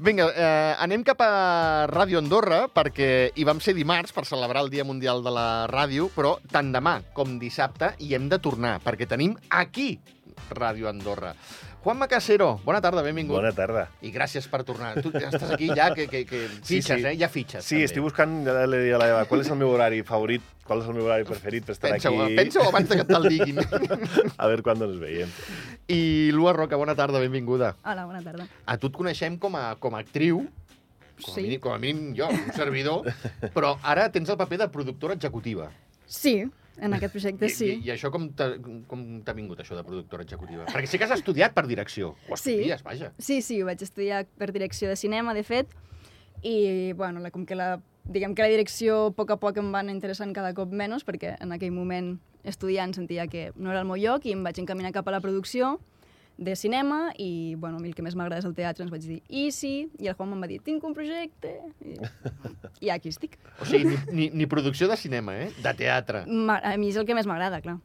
Vinga, eh, anem cap a Ràdio Andorra, perquè hi vam ser dimarts per celebrar el Dia Mundial de la Ràdio, però tant demà com dissabte hi hem de tornar, perquè tenim aquí Ràdio Andorra. Juan Macasero, bona tarda, benvingut. Bona tarda. I gràcies per tornar. Tu estàs aquí ja, que, que, que Sí, fitxes, sí. eh? Ja fitxes. Sí, estic buscant la- la- la- la- qual és el meu horari favorit, qual és el meu horari preferit per estar Pensa-ho aquí. pensa abans de que te'l diguin. A veure quan ens veiem. I Lua Roca, bona tarda, benvinguda. Hola, bona tarda. A tu et coneixem com a, com a actriu, com, a Sí. mínim, com a mínim jo, un servidor, però ara tens el paper de productora executiva. Sí, en aquest projecte sí. I, i, I això com t'ha com t'ha vingut, això de productora executiva? Perquè sé que has estudiat per direcció. Ho Sí. estudies, vaja. Sí, sí, ho vaig estudiar per direcció de cinema, de fet, i, bueno, la, com que la, diguem que la direcció a poc a poc em van interessant cada cop menys, perquè en aquell moment estudiant sentia que no era el meu lloc i em vaig encaminar cap a la producció de cinema i, bueno, a mi el que més m'agrada és el teatre, ens vaig dir, i sí, i el Juan em va dir, tinc un projecte, i, i aquí estic. O sigui, ni, ni, ni producció de cinema, eh? De teatre. Ma- A mi és el que més m'agrada, clar.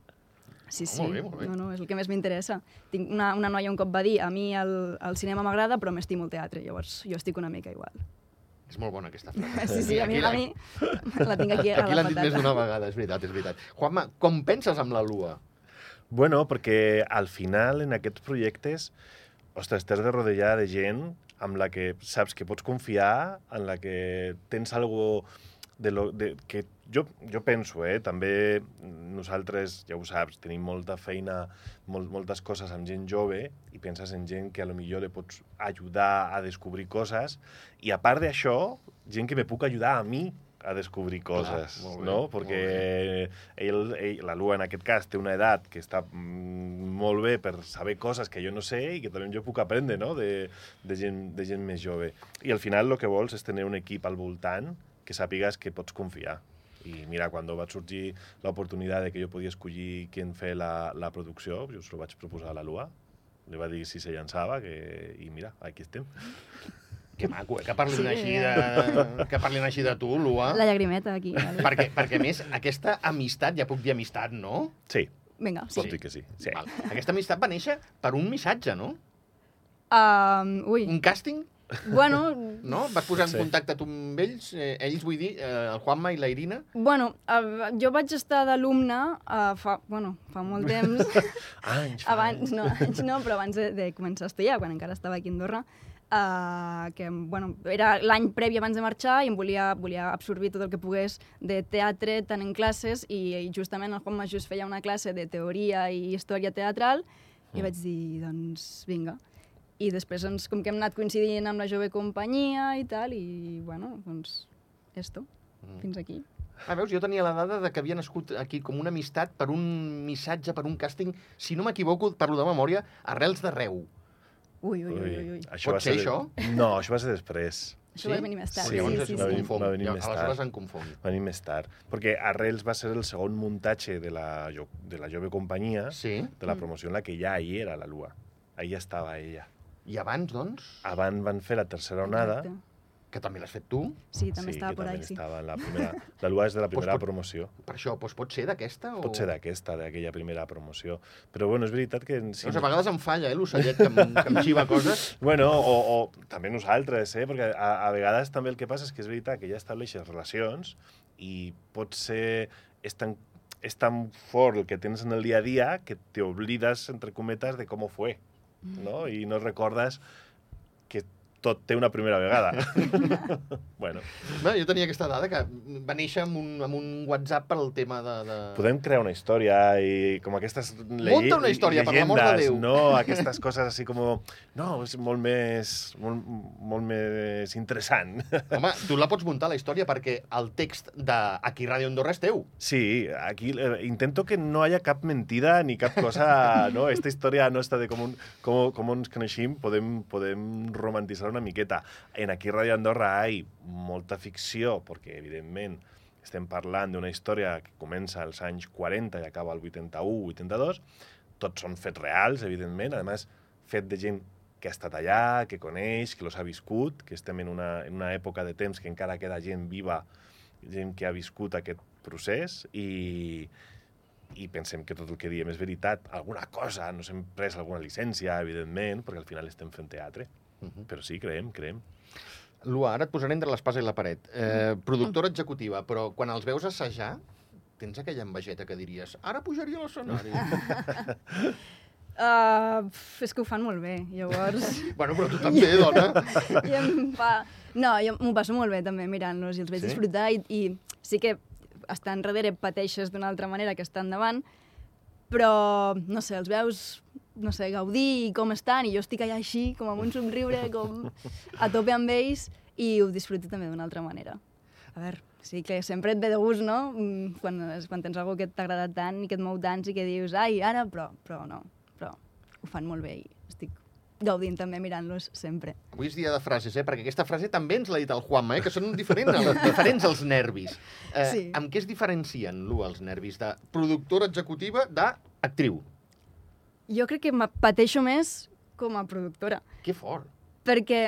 Sí, Ah, sí. molt bé, molt bé. No, no, és el que més m'interessa. Tinc una, una noia un cop va dir, a mi el, el cinema m'agrada, però m'estimo el teatre, llavors jo estic una mica igual. És molt bona aquesta frase. Sí, sí, a mi, Aquí a la- mi la tinc aquí a Aquí la l'han dit més d'una vegada, és veritat, és veritat. Juanma, com penses amb la Lua? Bueno, perquè al final, en aquests projectes, ostres, t'has de rodejar de gent amb la que saps que pots confiar, en la que tens algo de lo, de, que jo, jo penso, eh? també nosaltres, ja ho saps, tenim molta feina, molt, moltes coses amb gent jove i penses en gent que a lo millor le pots ajudar a descobrir coses i a part d'això, gent que me puc ajudar a mi a descobrir coses, molt bé, no? molt Perquè bé. Eh, ell, ell, la Lua en aquest cas té una edat que està mm, molt bé per saber coses que jo no sé i que també jo puc aprendre no? de, de, gent, de gent més jove. I al final el que vols és tenir un equip al voltant que sàpigues que pots confiar. I mira, quan va sorgir l'oportunitat de que jo podia escollir qui en fer la, la producció, jo se lo vaig proposar a la Lua, li va dir si se llançava que... i mira, aquí estem. Que maco, eh? Que parlin, Sí. així, de, que parlin així de tu, Lua. La llagrimeta aquí. Vale. Perquè, perquè, a més, aquesta amistat, ja puc dir amistat, no? Sí, Vinga, sí. sí. pot dir que sí. sí. Val. Aquesta amistat va néixer per un missatge, no? Um, ui, Un càsting, bueno, no? Vas posar en Sí. contacte tu amb ells, eh, ells vull dir, eh, el Juanma i la Irina. Bueno, eh, jo vaig estar d'alumne eh, fa, bueno, fa molt temps, Anys, fa abans, anys. no, anys no, però abans de, de començar a estudiar, quan encara estava aquí a Andorra, uh, que bueno, era l'any previ abans de marxar i em volia, volia absorbir tot el que pogués de teatre, tant en classes, i, i justament el Juan Majús feia una classe de teoria i història teatral, i vaig dir, doncs, vinga. I després, doncs, com que hem anat coincidint amb la jove companyia i tal, i, bueno, doncs, esto, fins aquí. Ah, veus, jo tenia la dada de que havia nascut aquí com una amistat per un missatge, per un càsting, si no m'equivoco, parlo de memòria, arrels d'arreu. Ui, ui, ui, ui, Ui, ui. això Pot va ser ser de- No, això va ser després. Això va venir més tard. Sí, Sí, llavors sí, es sí, sí. confon. Va venir Ja, més Aleshores tard. em confon. Va venir més tard, perquè Arrels va ser el segon muntatge de la, jo- de la jove companyia, Sí. de Mm. la promoció en la que ja hi era la Lua. Ahí ja estava ella. I abans, doncs, Abans van fer la tercera onada. Exacte. que també l'has fet tu, Sí, també sí, estava que por també ahí, sí. estava en la primera... La Lua és de la primera pot- promoció. per això, doncs pot ser d'aquesta? O... Pot ser d'aquesta, d'aquella primera promoció. Però bueno, és veritat que... en- Veus, a vegades em falla, eh, l'ocellet que, em- que em xiva coses. Bueno, o, o també nosaltres, eh? perquè a, a vegades també el que passa és que és veritat que ja estableixes relacions i pot ser... És tan, és tan fort el que tens en el dia a dia que te oblides, entre cometes, de com ho fue, Mm. no? I no recordes que tot té una primera vegada. bueno, Bé, jo tenia aquesta dada que va néixer amb un, amb un WhatsApp pel tema de... de... podem crear una història i com aquestes Munta una història, per l'amor de llegendes, Déu. No, aquestes coses així com... No, és molt més, molt, molt més interessant. Home, tu la pots muntar, la història, perquè el text de Aquí Ràdio Andorra és teu. Sí, aquí eh, intento que no haya cap mentida ni cap cosa, no? Esta història nostra de com, un, com, com ens coneixim podem, podem romantitzar una miqueta. En aquí a Ràdio Andorra hi molta ficció, perquè evidentment estem parlant d'una història que comença als anys 40 i acaba al 81-82. Tots són fets reals, evidentment, a més fet de gent que ha estat allà, que coneix, que los ha viscut, que estem en una, en una època de temps que encara queda gent viva gent que ha viscut aquest procés i, i pensem que tot el que diem és veritat. Alguna cosa, no s'hem pres alguna llicència, evidentment, perquè al final estem fent teatre. Però sí, creem, creem. Lua, ara et posaré entre l'espasa i la paret. Mm. Eh, productora executiva, però quan els veus assajar, tens aquella envejeta que diries ara pujaria a l'escenari. Uh, pf, és que ho fan molt bé, llavors... bueno, però tu també, dona. I em fa... No, jo m'ho passo molt bé també mirant-los i els veig Sí? sí? disfrutar i, i sí que estar enrere pateixes d'una altra manera que estar endavant, però, no sé, els veus no sé, gaudir i com estan, i jo estic allà així, com amb un somriure, com a tope amb ells, i ho disfruto també d'una altra manera. A veure, sí que sempre et ve de gust, no? Mm, Quan, quan tens algú que t'ha agradat tant i que et mou tant i que dius, ai, ara, però, però no, però ho fan molt bé i estic gaudint també mirant-los sempre. Avui és dia de frases, eh? perquè aquesta frase també ens l'ha dit el Juanma, eh? que són diferents, els, diferents els nervis. Eh, sí. Sí. Amb què es diferencien, Lu, els nervis de productora executiva d'actriu? Jo crec que me pateixo més com a productora, Que fort. perquè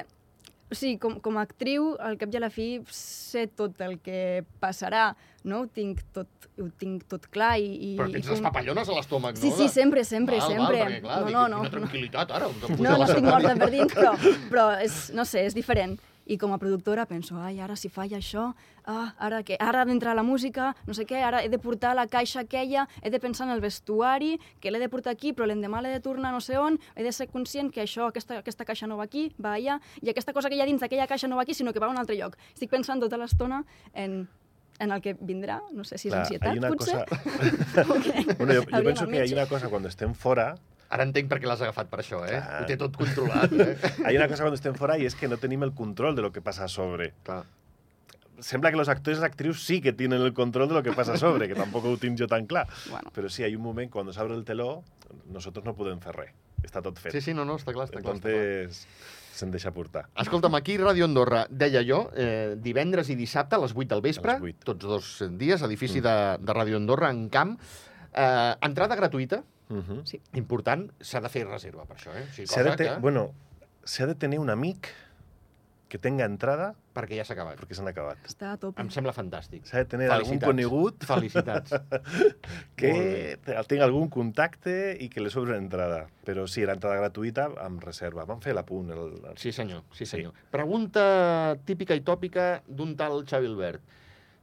o sigui, com, com a actriu, al cap i a la fi, sé tot el que passarà, no? Ho tinc tot, ho tinc tot clar i... i Però tens i les papallones a l'estómac, no? Sí, sí, sempre, sempre, val, sempre. Val, perquè, clar, no, dic, no, no, Quina no, tranquil·litat, ara. em pujo no, a no estic l'escenari. morta per dins, però, però és, no sé, és diferent. I com a productora penso, ai, ara si falla això, ah, ara què? Ara d'entrar la música, no sé què, ara he de portar la caixa aquella, he de pensar en el vestuari, que l'he de portar aquí, però l'endemà l'he de tornar no sé on, he de ser conscient que això, aquesta, aquesta caixa no va aquí, va allà, i aquesta cosa que hi ha dins d'aquella caixa no va aquí, sinó que va a un altre lloc. Estic pensant tota l'estona en, en el que vindrà, no sé si és Clar, ansietat, hay una potser. cosa- o què? Bueno, jo, jo Hauríem penso al que hay metge. una cosa cuando estén fuera, Ara entenc per què l'has agafat per això, eh? Clar. Ho té tot controlat, eh? hay una cosa cuando estén fuera y es que no tenim el control de lo que pasa sobre. Clar. Sembla que los actores y actrius sí que tienen el control de lo que pasa sobre, que tampoco ho tinc jo tan clar. Bueno, Però sí, hay un moment quan s'obre el teló, nosaltres no podem fer res. Està tot fet. Sí, sí, no, no, està clar, està clar. Està clar. Entonces, se'n deixa portar. Escolta'm, aquí Ràdio Andorra, deia jo, eh, divendres i dissabte a les 8 del vespre, A les Mm. 8. tots dos dies, edifici de, de Ràdio Andorra, en camp. Eh, entrada gratuïta, Mhm. sí. important, s'ha de fer reserva per això, eh? O sigui, S'ha cosa de, te... que... bueno, s'ha de tenir un amic que tenga entrada Perquè ja s'ha acabat. perquè s'han acabat. Està a tope. Em sembla fantàstic. S'ha de tenir algun Felicitats. conegut Felicitats. que tinga algun contacte i que li sobri una entrada. Però sí, era entrada gratuïta amb reserva. Vam fer l'apunt. El... el- Sí, senyor, sí, senyor. Pregunta típica i tòpica d'un tal Xavi Albert.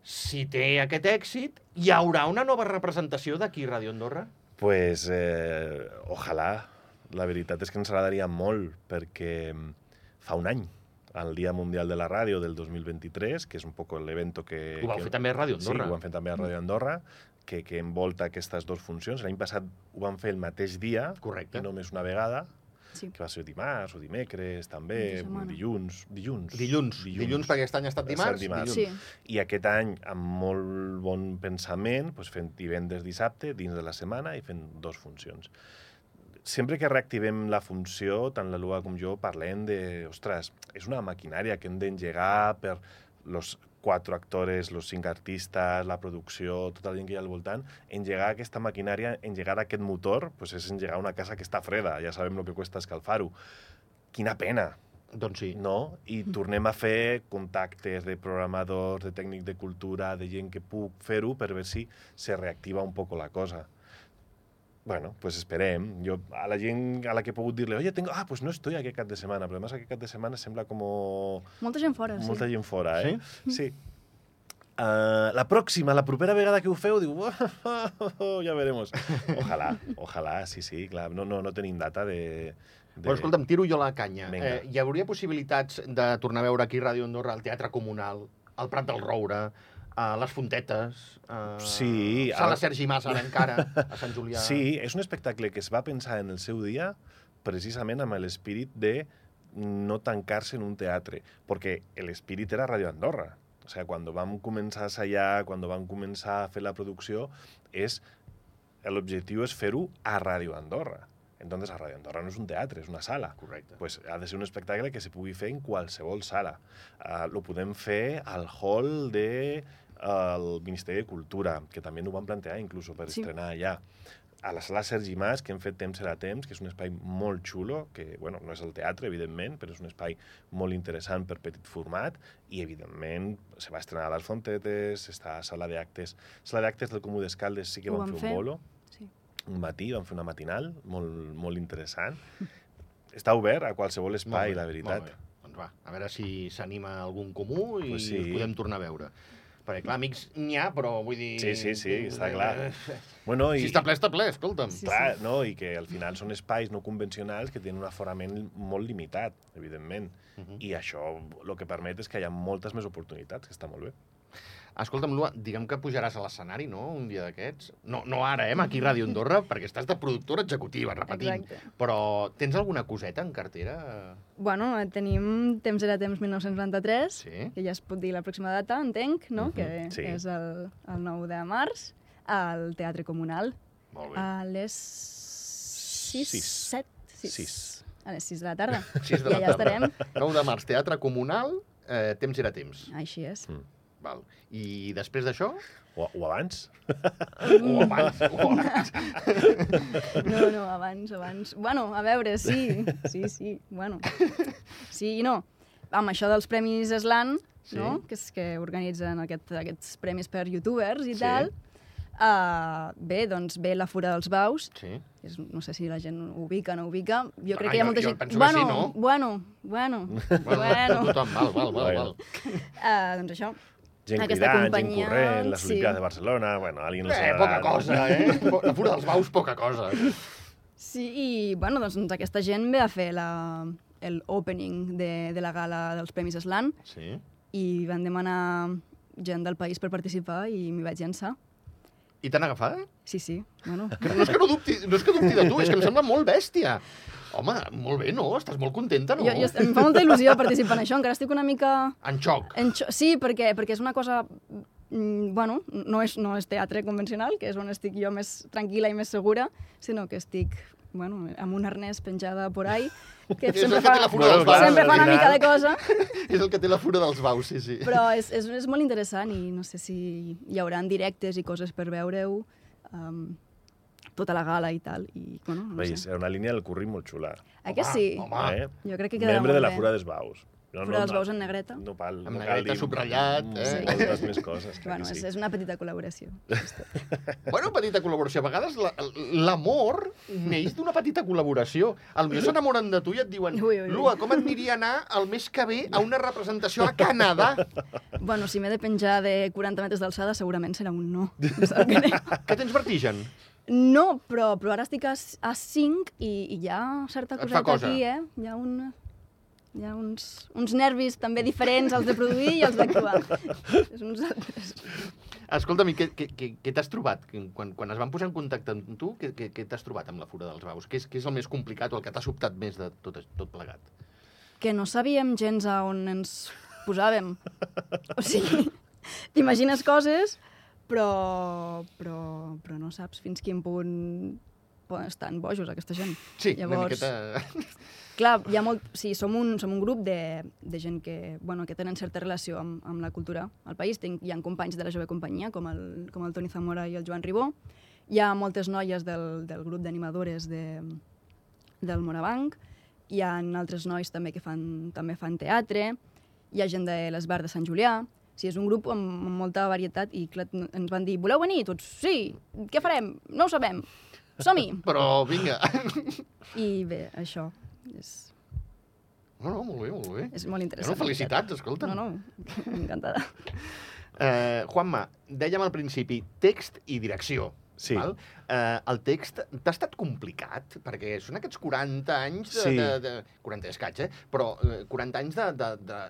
Si té aquest èxit, hi haurà una nova representació d'aquí Ràdio Andorra? Pues, eh, ojalà. La veritat és que ens agradaria molt, perquè mm, fa un any, el Dia Mundial de la Ràdio del 2023, que és un poc l'evento que... Ho vau que... fer també a Ràdio Andorra. Mm. Sí, ho van fer també a Ràdio Andorra, que, que envolta aquestes dues funcions. L'any passat ho van fer el mateix dia, Correcte. i només una vegada, Sí. que va ser dimarts o dimecres, també, Mitja setmana. dilluns, dilluns. Dilluns. Dilluns, dilluns perquè aquest any ha estat dimarts. Ha estat dimarts. Sí. I aquest any, amb molt bon pensament, doncs fent divendres, dissabte, dins de la setmana, i fent dos funcions. Sempre que reactivem la funció, tant la Lua com jo parlem de, ostres, és una maquinària que hem d'engegar per los quatre actors, los cinc artistes, la producció, tota la gent que hi ha al voltant, engegar aquesta maquinària, engegar aquest motor, pues és engegar una casa que està freda, ja sabem el que cuesta escalfar-ho. Quina pena, Doncs sí. no? I tornem a fer contactes de programadors, de tècnic de cultura, de gent que puc fer-ho per veure si se reactiva un poc la cosa. Bueno, pues esperem. Jo a la gent a la que he pogut dir-li, oye, tengo... ah, pues no estoy aquest cap de setmana, però además aquest cap de setmana sembla com Molta gent fora, sí. molta gent fora, eh? Sí. Uh, la pròxima, la propera vegada que ho feu, diu, ja veremos. Ojalà, ojalà, sí, sí, clar. No, no, no tenim data de... de... Bueno, escolta'm, tiro jo la canya. Vinga. Eh, hi hauria possibilitats de tornar a veure aquí Ràdio Andorra al Teatre Comunal, al Prat del Roure, a les Fontetes, a Sí, Sala ara- Sergi Mas, ara encara, a Sant Julià. Sí, és un espectacle que es va pensar en el seu dia precisament amb l'espírit de no tancar-se en un teatre, perquè l'espírit era Radio Andorra. O sigui, quan vam començar a assajar, quan vam començar a fer la producció, és l'objectiu és fer-ho a Radio Andorra. Entonces, a Radio Andorra no és un teatre, és una sala Correcte. pues, ha de ser un espectacle que se pugui fer en qualsevol sala. Uh, lo podem fer al hall de uh, el Ministeri de Cultura, que també ho van plantejar inclús per sí. Sí. estrenar allà. A la sala Sergi Mas, que hem fet Temps serà temps, que és un espai molt xulo, que bueno, no és el teatre, evidentment, però és un espai molt interessant per petit format, i evidentment se va estrenar a les Fontetes, està a sala d'actes. Sala d'actes del Comú d'Escaldes sí que Ho van van fer un fer. bolo, Sí. un matí, vam fer una matinal molt, molt interessant. està obert a qualsevol Molt espai, bé, la molt veritat. bé. Doncs va, a veure si s'anima algun comú i Pues pues sí. sí. us podem tornar a veure. Perquè, clar, amics n'hi ha, però vull dir... Eh, Sí, sí, sí, està clar. Bueno, i, Si està ple, està ple, escolta'm. Sí, Sí. clar, no? I que al final són espais no convencionals que tenen un aforament molt limitat, evidentment. Mhm. I això el que permet és que hi ha moltes més oportunitats, que està molt bé. Escolta'm, Lua, diguem que pujaràs a l'escenari, no?, un dia d'aquests. No, no ara, eh, aquí a Ràdio Andorra, perquè estàs de productora executiva, repetint. Exacte. Però tens alguna coseta en cartera? Bueno, tenim Temps era temps 1993, Sí. que ja es pot dir la pròxima data, entenc, Mhm, no? que sí. és el, el 9 de març, al Teatre Comunal, Molt bé. a les Sis. 6, 7, 6. Sis. A les 6 de la tarda. Sis de I la allà tarda. estarem. 9 de març, Teatre Comunal, eh, temps era temps. Així és. Val. I després d'això? O, o abans? O abans, o abans. No, no, abans, abans. Bueno, a veure, sí, sí, sí, bueno. Sí i no. Amb això dels Premis Eslan, Sí. sí. no? que, és que organitzen aquest, aquests premis per youtubers i Sí. sí. tal, uh, bé, doncs ve la Fura dels Baus, Sí. és, no sé si la gent ho ubica o no ho ubica, jo Ah, crec que hi ha jo- molta jo gent... penso que bueno, sí, no? bueno, bueno, Bueno. bueno, Tothom, val, val, val. val. uh, doncs això. Gent Aquesta cridant, companyia, gent corrent, les sí. Olimpiades de Barcelona... Bueno, a alguien no Eh, poca cosa, eh? Po- La fura dels baus, poca cosa. Sí, i bueno, doncs, doncs aquesta gent ve a fer la, el opening de, de la gala dels Premis Eslan, Sí. i van demanar gent del país per participar i m'hi vaig llançar. I t'han agafat? Sí, sí, bueno, No és que no dubti, no és que dubti de tu, és que em sembla molt bèstia. Home, molt bé, no? Estàs molt contenta, no? jo, jo, em fa molta il·lusió participar en això, encara estic una mica... En xoc. En xo... Sí, perquè, perquè és una cosa... mm, Bueno, no és, no és teatre convencional, que és on estic jo més tranquil·la i més segura, sinó que estic bueno, amb un arnès penjada por ahí, que És sempre el que té fa, la fura dels baus, sempre al fa una final. mica de cosa, És el que té la fura dels baus, sí, sí. però és, és, és molt interessant i no sé si hi haurà directes i coses per veure-ho, um, tota la gala i tal. I, bueno, no Veis, sé. era una línia del curri molt xula. Eh que sí? Home, home. Eh? Jo crec que quedarà Membre molt de la bé. Fura dels Baus. No, Fura dels Baus en negreta. No, cal, Amb no negreta cal dir subratllat, eh? Moltes més coses. clar Bueno, que és, sí. és una petita col·laboració. Bueno, petita col·laboració. A vegades la- l'amor neix d'una petita col·laboració. Al millor s'enamoren de tu i et diuen Ui, ui, ui. Lua, com et diria anar el mes que ve a una representació a Canadà? bueno, si m'he de penjar de 40 metres d'alçada, segurament serà un no. Em sap greu. Que tens vertigen? No, però, però ara estic a, s- a 5 i, i hi ha certa Et fa coseta cosa. aquí, eh? Hi ha un... Hi ha uns, uns nervis també diferents, els de produir i els d'actuar. És uns altres. Escolta'm, i què, què, què, què t'has trobat? Quan, quan es van posar en contacte amb tu, què, què, què t'has trobat amb la fura dels baus? Què és, què és el més complicat o el que t'ha sobtat més de tot, tot plegat? Que no sabíem gens a on ens posàvem. O sigui, t'imagines coses, però, però, però no saps fins quin punt poden estar bojos aquesta gent. Sí, una miqueta... Clar, hi ha molt... Sí, som un, som un grup de, de gent que, bueno, que tenen certa relació amb, amb la cultura al país. Tinc, hi ha companys de la jove companyia, com el, com el Toni Zamora i el Joan Ribó. Hi ha moltes noies del, del grup d'animadores de, del Morabanc. Hi ha altres nois també que fan, també fan teatre. Hi ha gent de l'Esbar de Sant Julià. Sí, és un grup amb, amb molta varietat i clar, ens van dir, voleu venir? Tots, sí, què farem? No ho sabem. Som-hi! Però vinga... I bé, això és... No, no, molt bé, molt bé. És No, molt no, interessant. felicitats, escolta. No, no, encantada. Eh, Juanma, dèiem al principi text i direcció. Sí. Val? Eh, el text t'ha estat complicat, perquè són aquests 40 anys de... Sí. de, de 40 és caig, eh? Però eh, 40 anys de, de, de...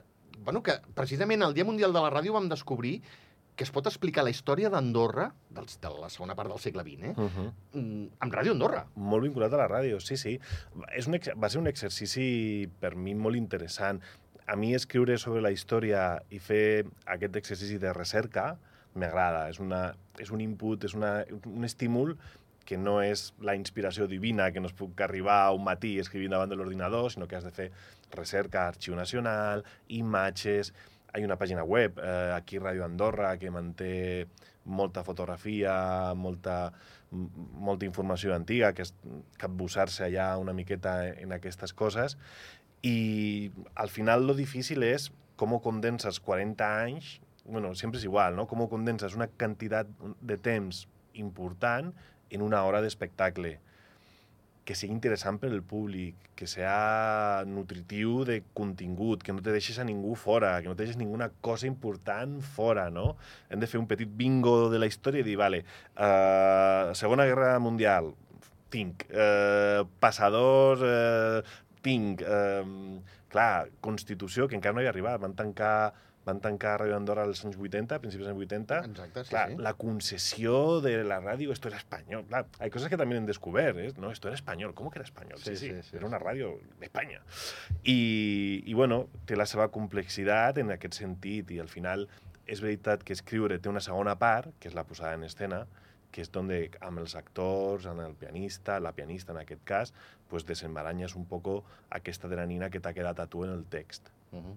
Bueno, que precisament al Dia Mundial de la Ràdio vam descobrir que es pot explicar la història d'Andorra, dels- de la segona part del segle XX, eh? Mhm. Mm, amb Ràdio Andorra. molt vinculat a la ràdio, sí, sí. És un, ex- va ser un exercici per mi molt interessant. A mi escriure sobre la història i fer aquest exercici de recerca m'agrada. És, una, és un input, és una, un estímul que no és la inspiració divina que no es puc arribar un matí escrivint davant de l'ordinador, sinó que has de fer recerca, arxiu nacional, imatges... Hi ha una pàgina web, eh, aquí Ràdio Andorra, que manté molta fotografia, molta, m- molta informació antiga, que és capbussar-se allà una miqueta en aquestes coses. I al final lo difícil és com ho condenses 40 anys, bueno, sempre és igual, no? Com ho condenses una quantitat de temps important en una hora d'espectacle. que sigui interessant per al públic, que sea nutritiu de contingut, que no te deixes a ningú fora, que no te deixes ninguna cosa important fora, no? Hem de fer un petit bingo de la història i dir, vale, uh, Segona Guerra Mundial, tinc, uh, passadors, uh, tinc, uh, clar, Constitució, que encara no hi ha arribat, van tancar van tancar Ràdio Andorra als anys 80, a principis dels anys 80. Exacte, sí, Ah, clar, sí. la concessió de la ràdio, esto era español. Clar, hay cosas que también han descobert, ¿eh? ¿no? Esto era español, ¿cómo que era español? Sí, sí, sí, sí era una ràdio d'Espanya. I, I, bueno, té la seva complexitat en aquest sentit i al final és veritat que escriure té una segona part, que és la posada en escena, que és on amb els actors, amb el pianista, la pianista en aquest cas, pues desembaranyes un poco aquesta adrenalina que t'ha quedat a tu en el text Uh -huh.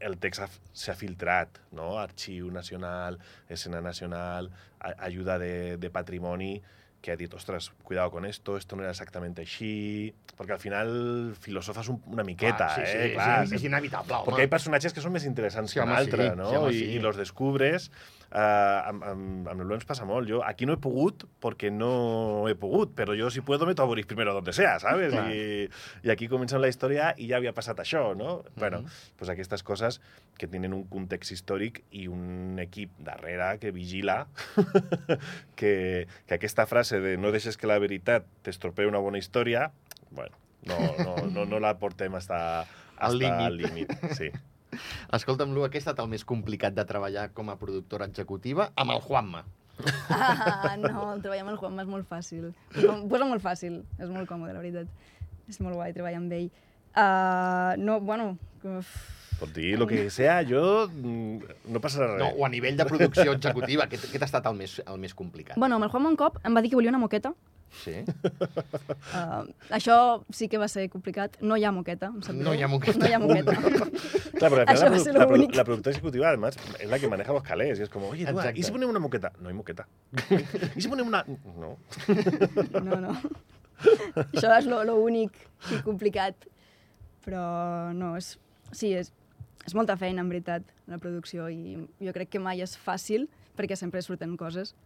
el text ha- s'ha filtrat, no? Arxiu nacional, escena nacional, a- ajuda de, de patrimoni, que ha dit, ostres, cuidado con esto, esto no era exactament així... Perquè al final filosofes un, una miqueta, sí, sí, eh? és- Clar, és, és inevitable, home. perquè hi ha personatges que són més interessants Sí, sí, que home, altre, sí, no? sí, home, I, sí. I los descubres... Uh, amb, amb, amb el Blue ens passa molt. Jo aquí no he pogut perquè no he pogut, però jo si puedo me t'ho avorís primero donde sea, ¿sabes? Clar. I, I aquí comença la història i ja havia passat això, no? Uh -huh. Bueno, Mhm. pues aquestes coses que tenen un context històric i un equip darrere que vigila que, que aquesta frase de no deixes que la veritat t'estropee una bona història, bueno, no, no, no, no la portem hasta, Al hasta al límit. Sí. Escolta'm, Lu, què ha estat el més complicat de treballar com a productora executiva? Amb el Juanma. Ah, no, el treballar amb el Juanma és molt fàcil. Com- Posa molt fàcil, és molt còmode, la veritat. És molt guai treballar amb ell. Uh, no, bueno... Uf, Pot dir el que sea, jo... mm, No passarà No, res. o a nivell de producció executiva, què, què t'ha estat el més, el més complicat? bueno, amb el Juanma un cop em va dir que volia una moqueta. Sí? Uh, això sí que va ser complicat. No hi ha moqueta, em sap No greu. hi ha moqueta. No hi ha moqueta. Clar, però al Això final la, va produ- ser lo la, produ- únic. la productora executiva, además, és la que maneja los calés. I és com, oye, tú, Exacte. ¿y si ponem una moqueta? No hay moqueta. ¿Y si ponem una...? No. No, no. Això és lo, lo únic i complicat. Però no, és... Sí, és, és molta feina, en veritat, la producció, i jo crec que mai és fàcil, perquè sempre surten coses,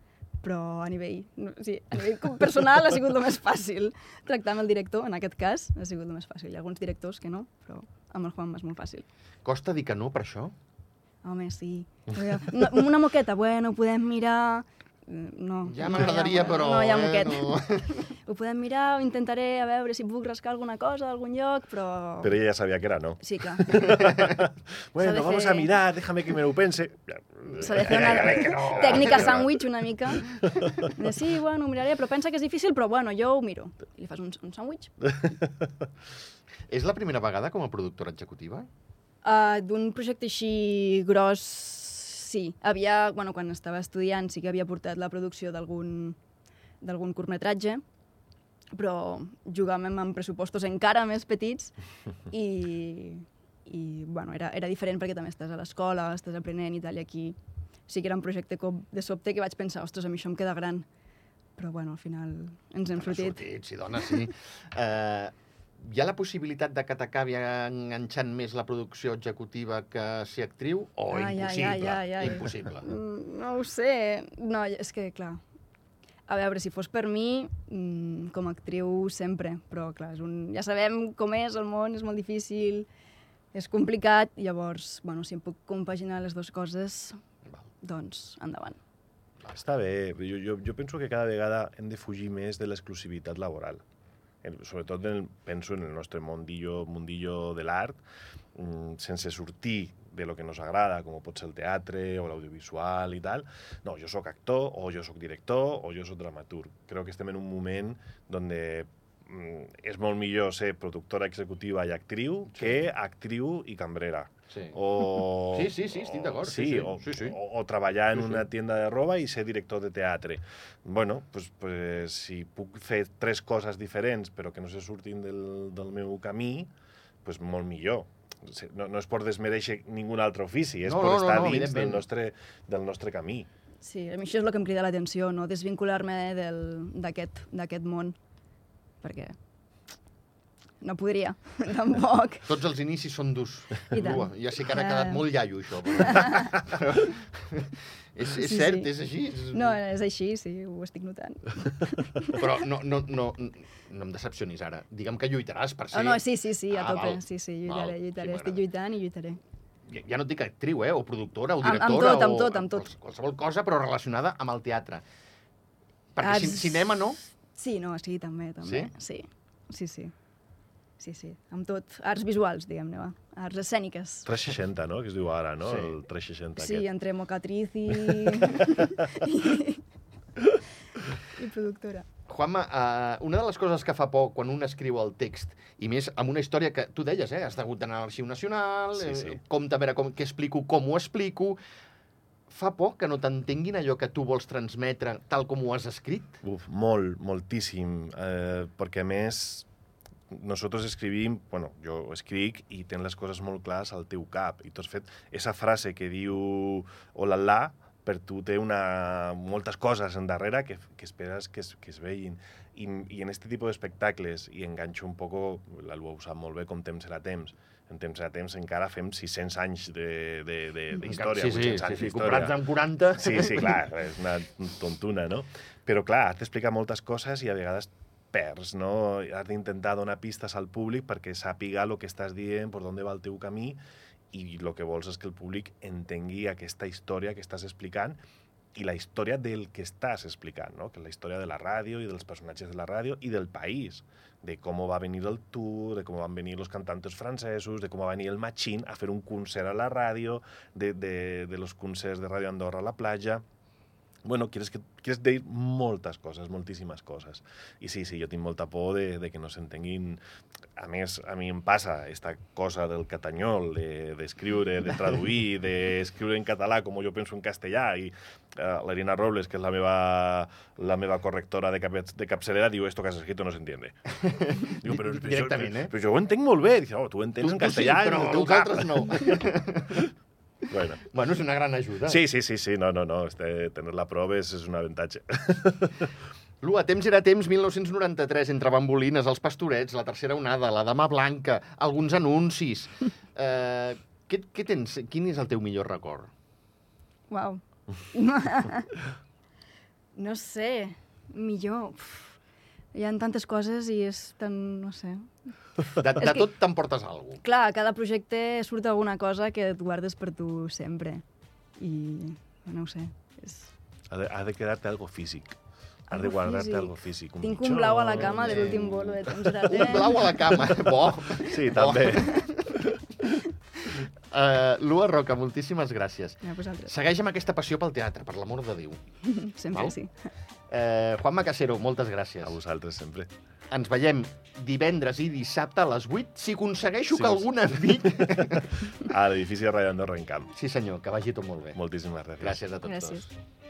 però a nivell, no, sí, a nivell com personal ha sigut el més fàcil. Tractar amb el director, en aquest cas, ha sigut el més fàcil. Hi ha alguns directors que no, però amb el Juan és molt fàcil. Costa dir que no per això? Home, sí. Una, una moqueta, bueno, ho podem mirar... Mm, No. Ja no hi ha- m'agradaria, però... No hi ha eh, moqueta. no. Ho podem mirar, ho intentaré a veure si puc rascar alguna cosa d'algun lloc, però... Però ella ja sabia que era no. Sí, clar. Bueno, de vamos fer- a mirar, déjame que me lo pense. Ja, S'ha de fer ja, ja veig que una no. tècnica sàndwich una mica. De, sí, bueno, ho miraré, però pensa que és difícil, però bueno, jo ho miro. I li fas un, un sàndwich És la primera vegada com a productora executiva? Uh, D'un projecte així gros, sí. Havia, bueno, quan estava estudiant sí que havia portat la producció d'algun d'algun curtmetratge, però jugàvem amb pressupostos encara més petits i, i bueno, era, era diferent perquè també estàs a l'escola, estàs aprenent i tal, i aquí sí que era un projecte com de sobte que vaig pensar, ostres, a mi això em queda gran. Però bueno, al final ens hem N'ha sortit. sortit sí, dona, sí. uh, hi ha la possibilitat de que t'acabi enganxant més la producció executiva que ser actriu? O Ai, ai, impossible? ai, ai, ai. Impossible. Mm, No ho sé. No, és que, clar... A veure, si fos per mi, mm, com a actriu sempre, però clar, és un... ja sabem com és el món, és molt difícil, és complicat, llavors, bueno, si em puc compaginar les dues coses, Val. doncs endavant. Està bé, però jo, jo, jo penso que cada vegada hem de fugir més de l'exclusivitat laboral. En- Sobretot en el, penso en el nostre mundillo, mundillo de l'art, mm, sense sortir de lo que nos agrada, com pot ser el teatre o l'audiovisual i tal. No, jo sóc actor, o jo sóc director, o jo sóc dramaturg. Creo que estem en un moment donde mm, és molt millor ser productora executiva i actriu Sí. que actriu i cambrera. Sí. O, Sí, sí, sí, estic d'acord, Sí, sí, sí, o, sí, sí. O, o treballar en Sí, sí. una tienda de roba i ser director de teatre. bueno, pues, pues, si puc fer tres coses diferents però que no se surtin del, del meu camí, pues molt millor. Se- No, no és per desmereixer ningun altre ofici, és No, per no, no, estar no, dins del evidentment. nostre, del nostre camí. Sí, a mi això és el que em crida l'atenció, no desvincular-me del- d'aquest d'aquest món, perquè no podria, tampoc. Tots els inicis són durs. I tant. Ua, ja sé que ara ha Eh. quedat molt iaio, això. Però... és, és Sí, sí, cert, sí. és així. És... No, eh. és així, sí, ho estic notant. Però no, no, no, no em decepcionis ara. Digue'm que lluitaràs per Sí. Oh, ser... no, sí, sí, sí, a Ah, tope. val. Sí, sí, Val, lluitaré, sí, lluitaré. estic m'agrada. lluitant i lluitaré. Ja, ja no et dic actriu, eh? O productora, o Amb- amb directora... tot, amb o, tot, amb tot. quals- Qualsevol cosa, però relacionada amb el teatre. Perquè Ah, cin s- cinema no. Sí, no, sí, també, també. Sí? Sí, sí, sí. Sí, sí, amb tot. Arts visuals, diguem-ne, va. Arts escèniques. 360, no?, que es diu ara, no? Sí. El 360 Sí, aquest. entre mocatriz i... i productora. Juanma, uh, una de les coses que fa por quan un escriu el text, i més amb una història que tu deies, eh? Has hagut d'anar a l'Arxiu Nacional, Sí, sí, sí. sí. Eh, compte a veure com, què explico, com ho explico... Fa por que no t'entenguin allò que tu vols transmetre tal com ho has escrit? Uf, molt, moltíssim, eh, perquè a més nosaltres escrivim, bueno, jo escric i tens les coses molt clares al teu cap i tot fet, esa frase que diu hola la, per tu té una, moltes coses en darrere que, que esperes que es, que es vegin. I, I en este tipus d'espectacles, i enganxo un poco, l'Alba ho sap molt bé, com temps serà temps. En temps serà temps encara fem 600 anys de- de- de- d'història, sí, sí, 800 sí, anys sí, d'història. comparats amb 40... Sí, sí, clar, és una tontuna, no? Però clar, has d'explicar moltes coses i a vegades perds, no? Has d'intentar donar pistes al públic perquè sàpiga el que estàs dient, per on va el teu camí, i el que vols és que el públic entengui aquesta història que estàs explicant i la història del que estàs explicant, no? que és la història de la ràdio i dels personatges de la ràdio i del país, de com va venir el tour, de com van venir els cantants francesos, de com va venir el Machín a fer un concert a la ràdio, de, de, de los concerts de Ràdio Andorra a la platja... Bueno, quieres, que, quieres dir moltes coses, moltíssimes coses. I sí, sí, jo tinc molta por de, de que no s'entenguin... A més, a mi em passa esta cosa del catanyol, de- d'escriure, de, de traduir, d'escriure en català com jo penso en castellà. I eh, l'Irina Robles, que és la meva, la meva correctora de, cap, de capçalera, diu esto que has escrito no se entiende. Diu, però, però, jo, Directament, eh? però jo ho entenc molt bé. Dic, oh, tu ho entens Tu, en tu sí, castellà però en el teu cap. vosaltres no. Bueno. bueno, és una gran ajuda. Sí, sí, sí, sí, no, no, no, este, tener la prova és, és un avantatge. L'U a temps era temps 1993, entre bambolines, els pastorets, la tercera onada, la dama blanca, alguns anuncis. Eh, què, què tens? Quin és el teu millor record? Uau. no sé, millor... Uf. Hi ha tantes coses i és tan... no sé... De, És de que- tot t'emportes alguna cosa. Clar, a cada projecte surt alguna cosa que et guardes per tu sempre. I no ho sé, és... Ha de, ha de quedar-te algo físic. Has de Algo guardar-te físic. algo físic. Tinc un blau a la cama de eh. l'últim bolo de temps de Un blau a la cama, bo. Sí, també. Eh, Lua Roca, moltíssimes gràcies. A vosaltres, Segueix amb aquesta passió pel teatre, per l'amor de Déu. sempre Val. sí. Eh, Juan Macasero, moltes gràcies. A vosaltres, sempre. Ens veiem divendres i dissabte a les 8, si aconsegueixo Sí, que sí. algun amic... A l'edifici de Ràdio Andorra en Camp. Sí senyor, que vagi tot molt bé. Moltíssimes gràcies. Gràcies a tots Gràcies. dos.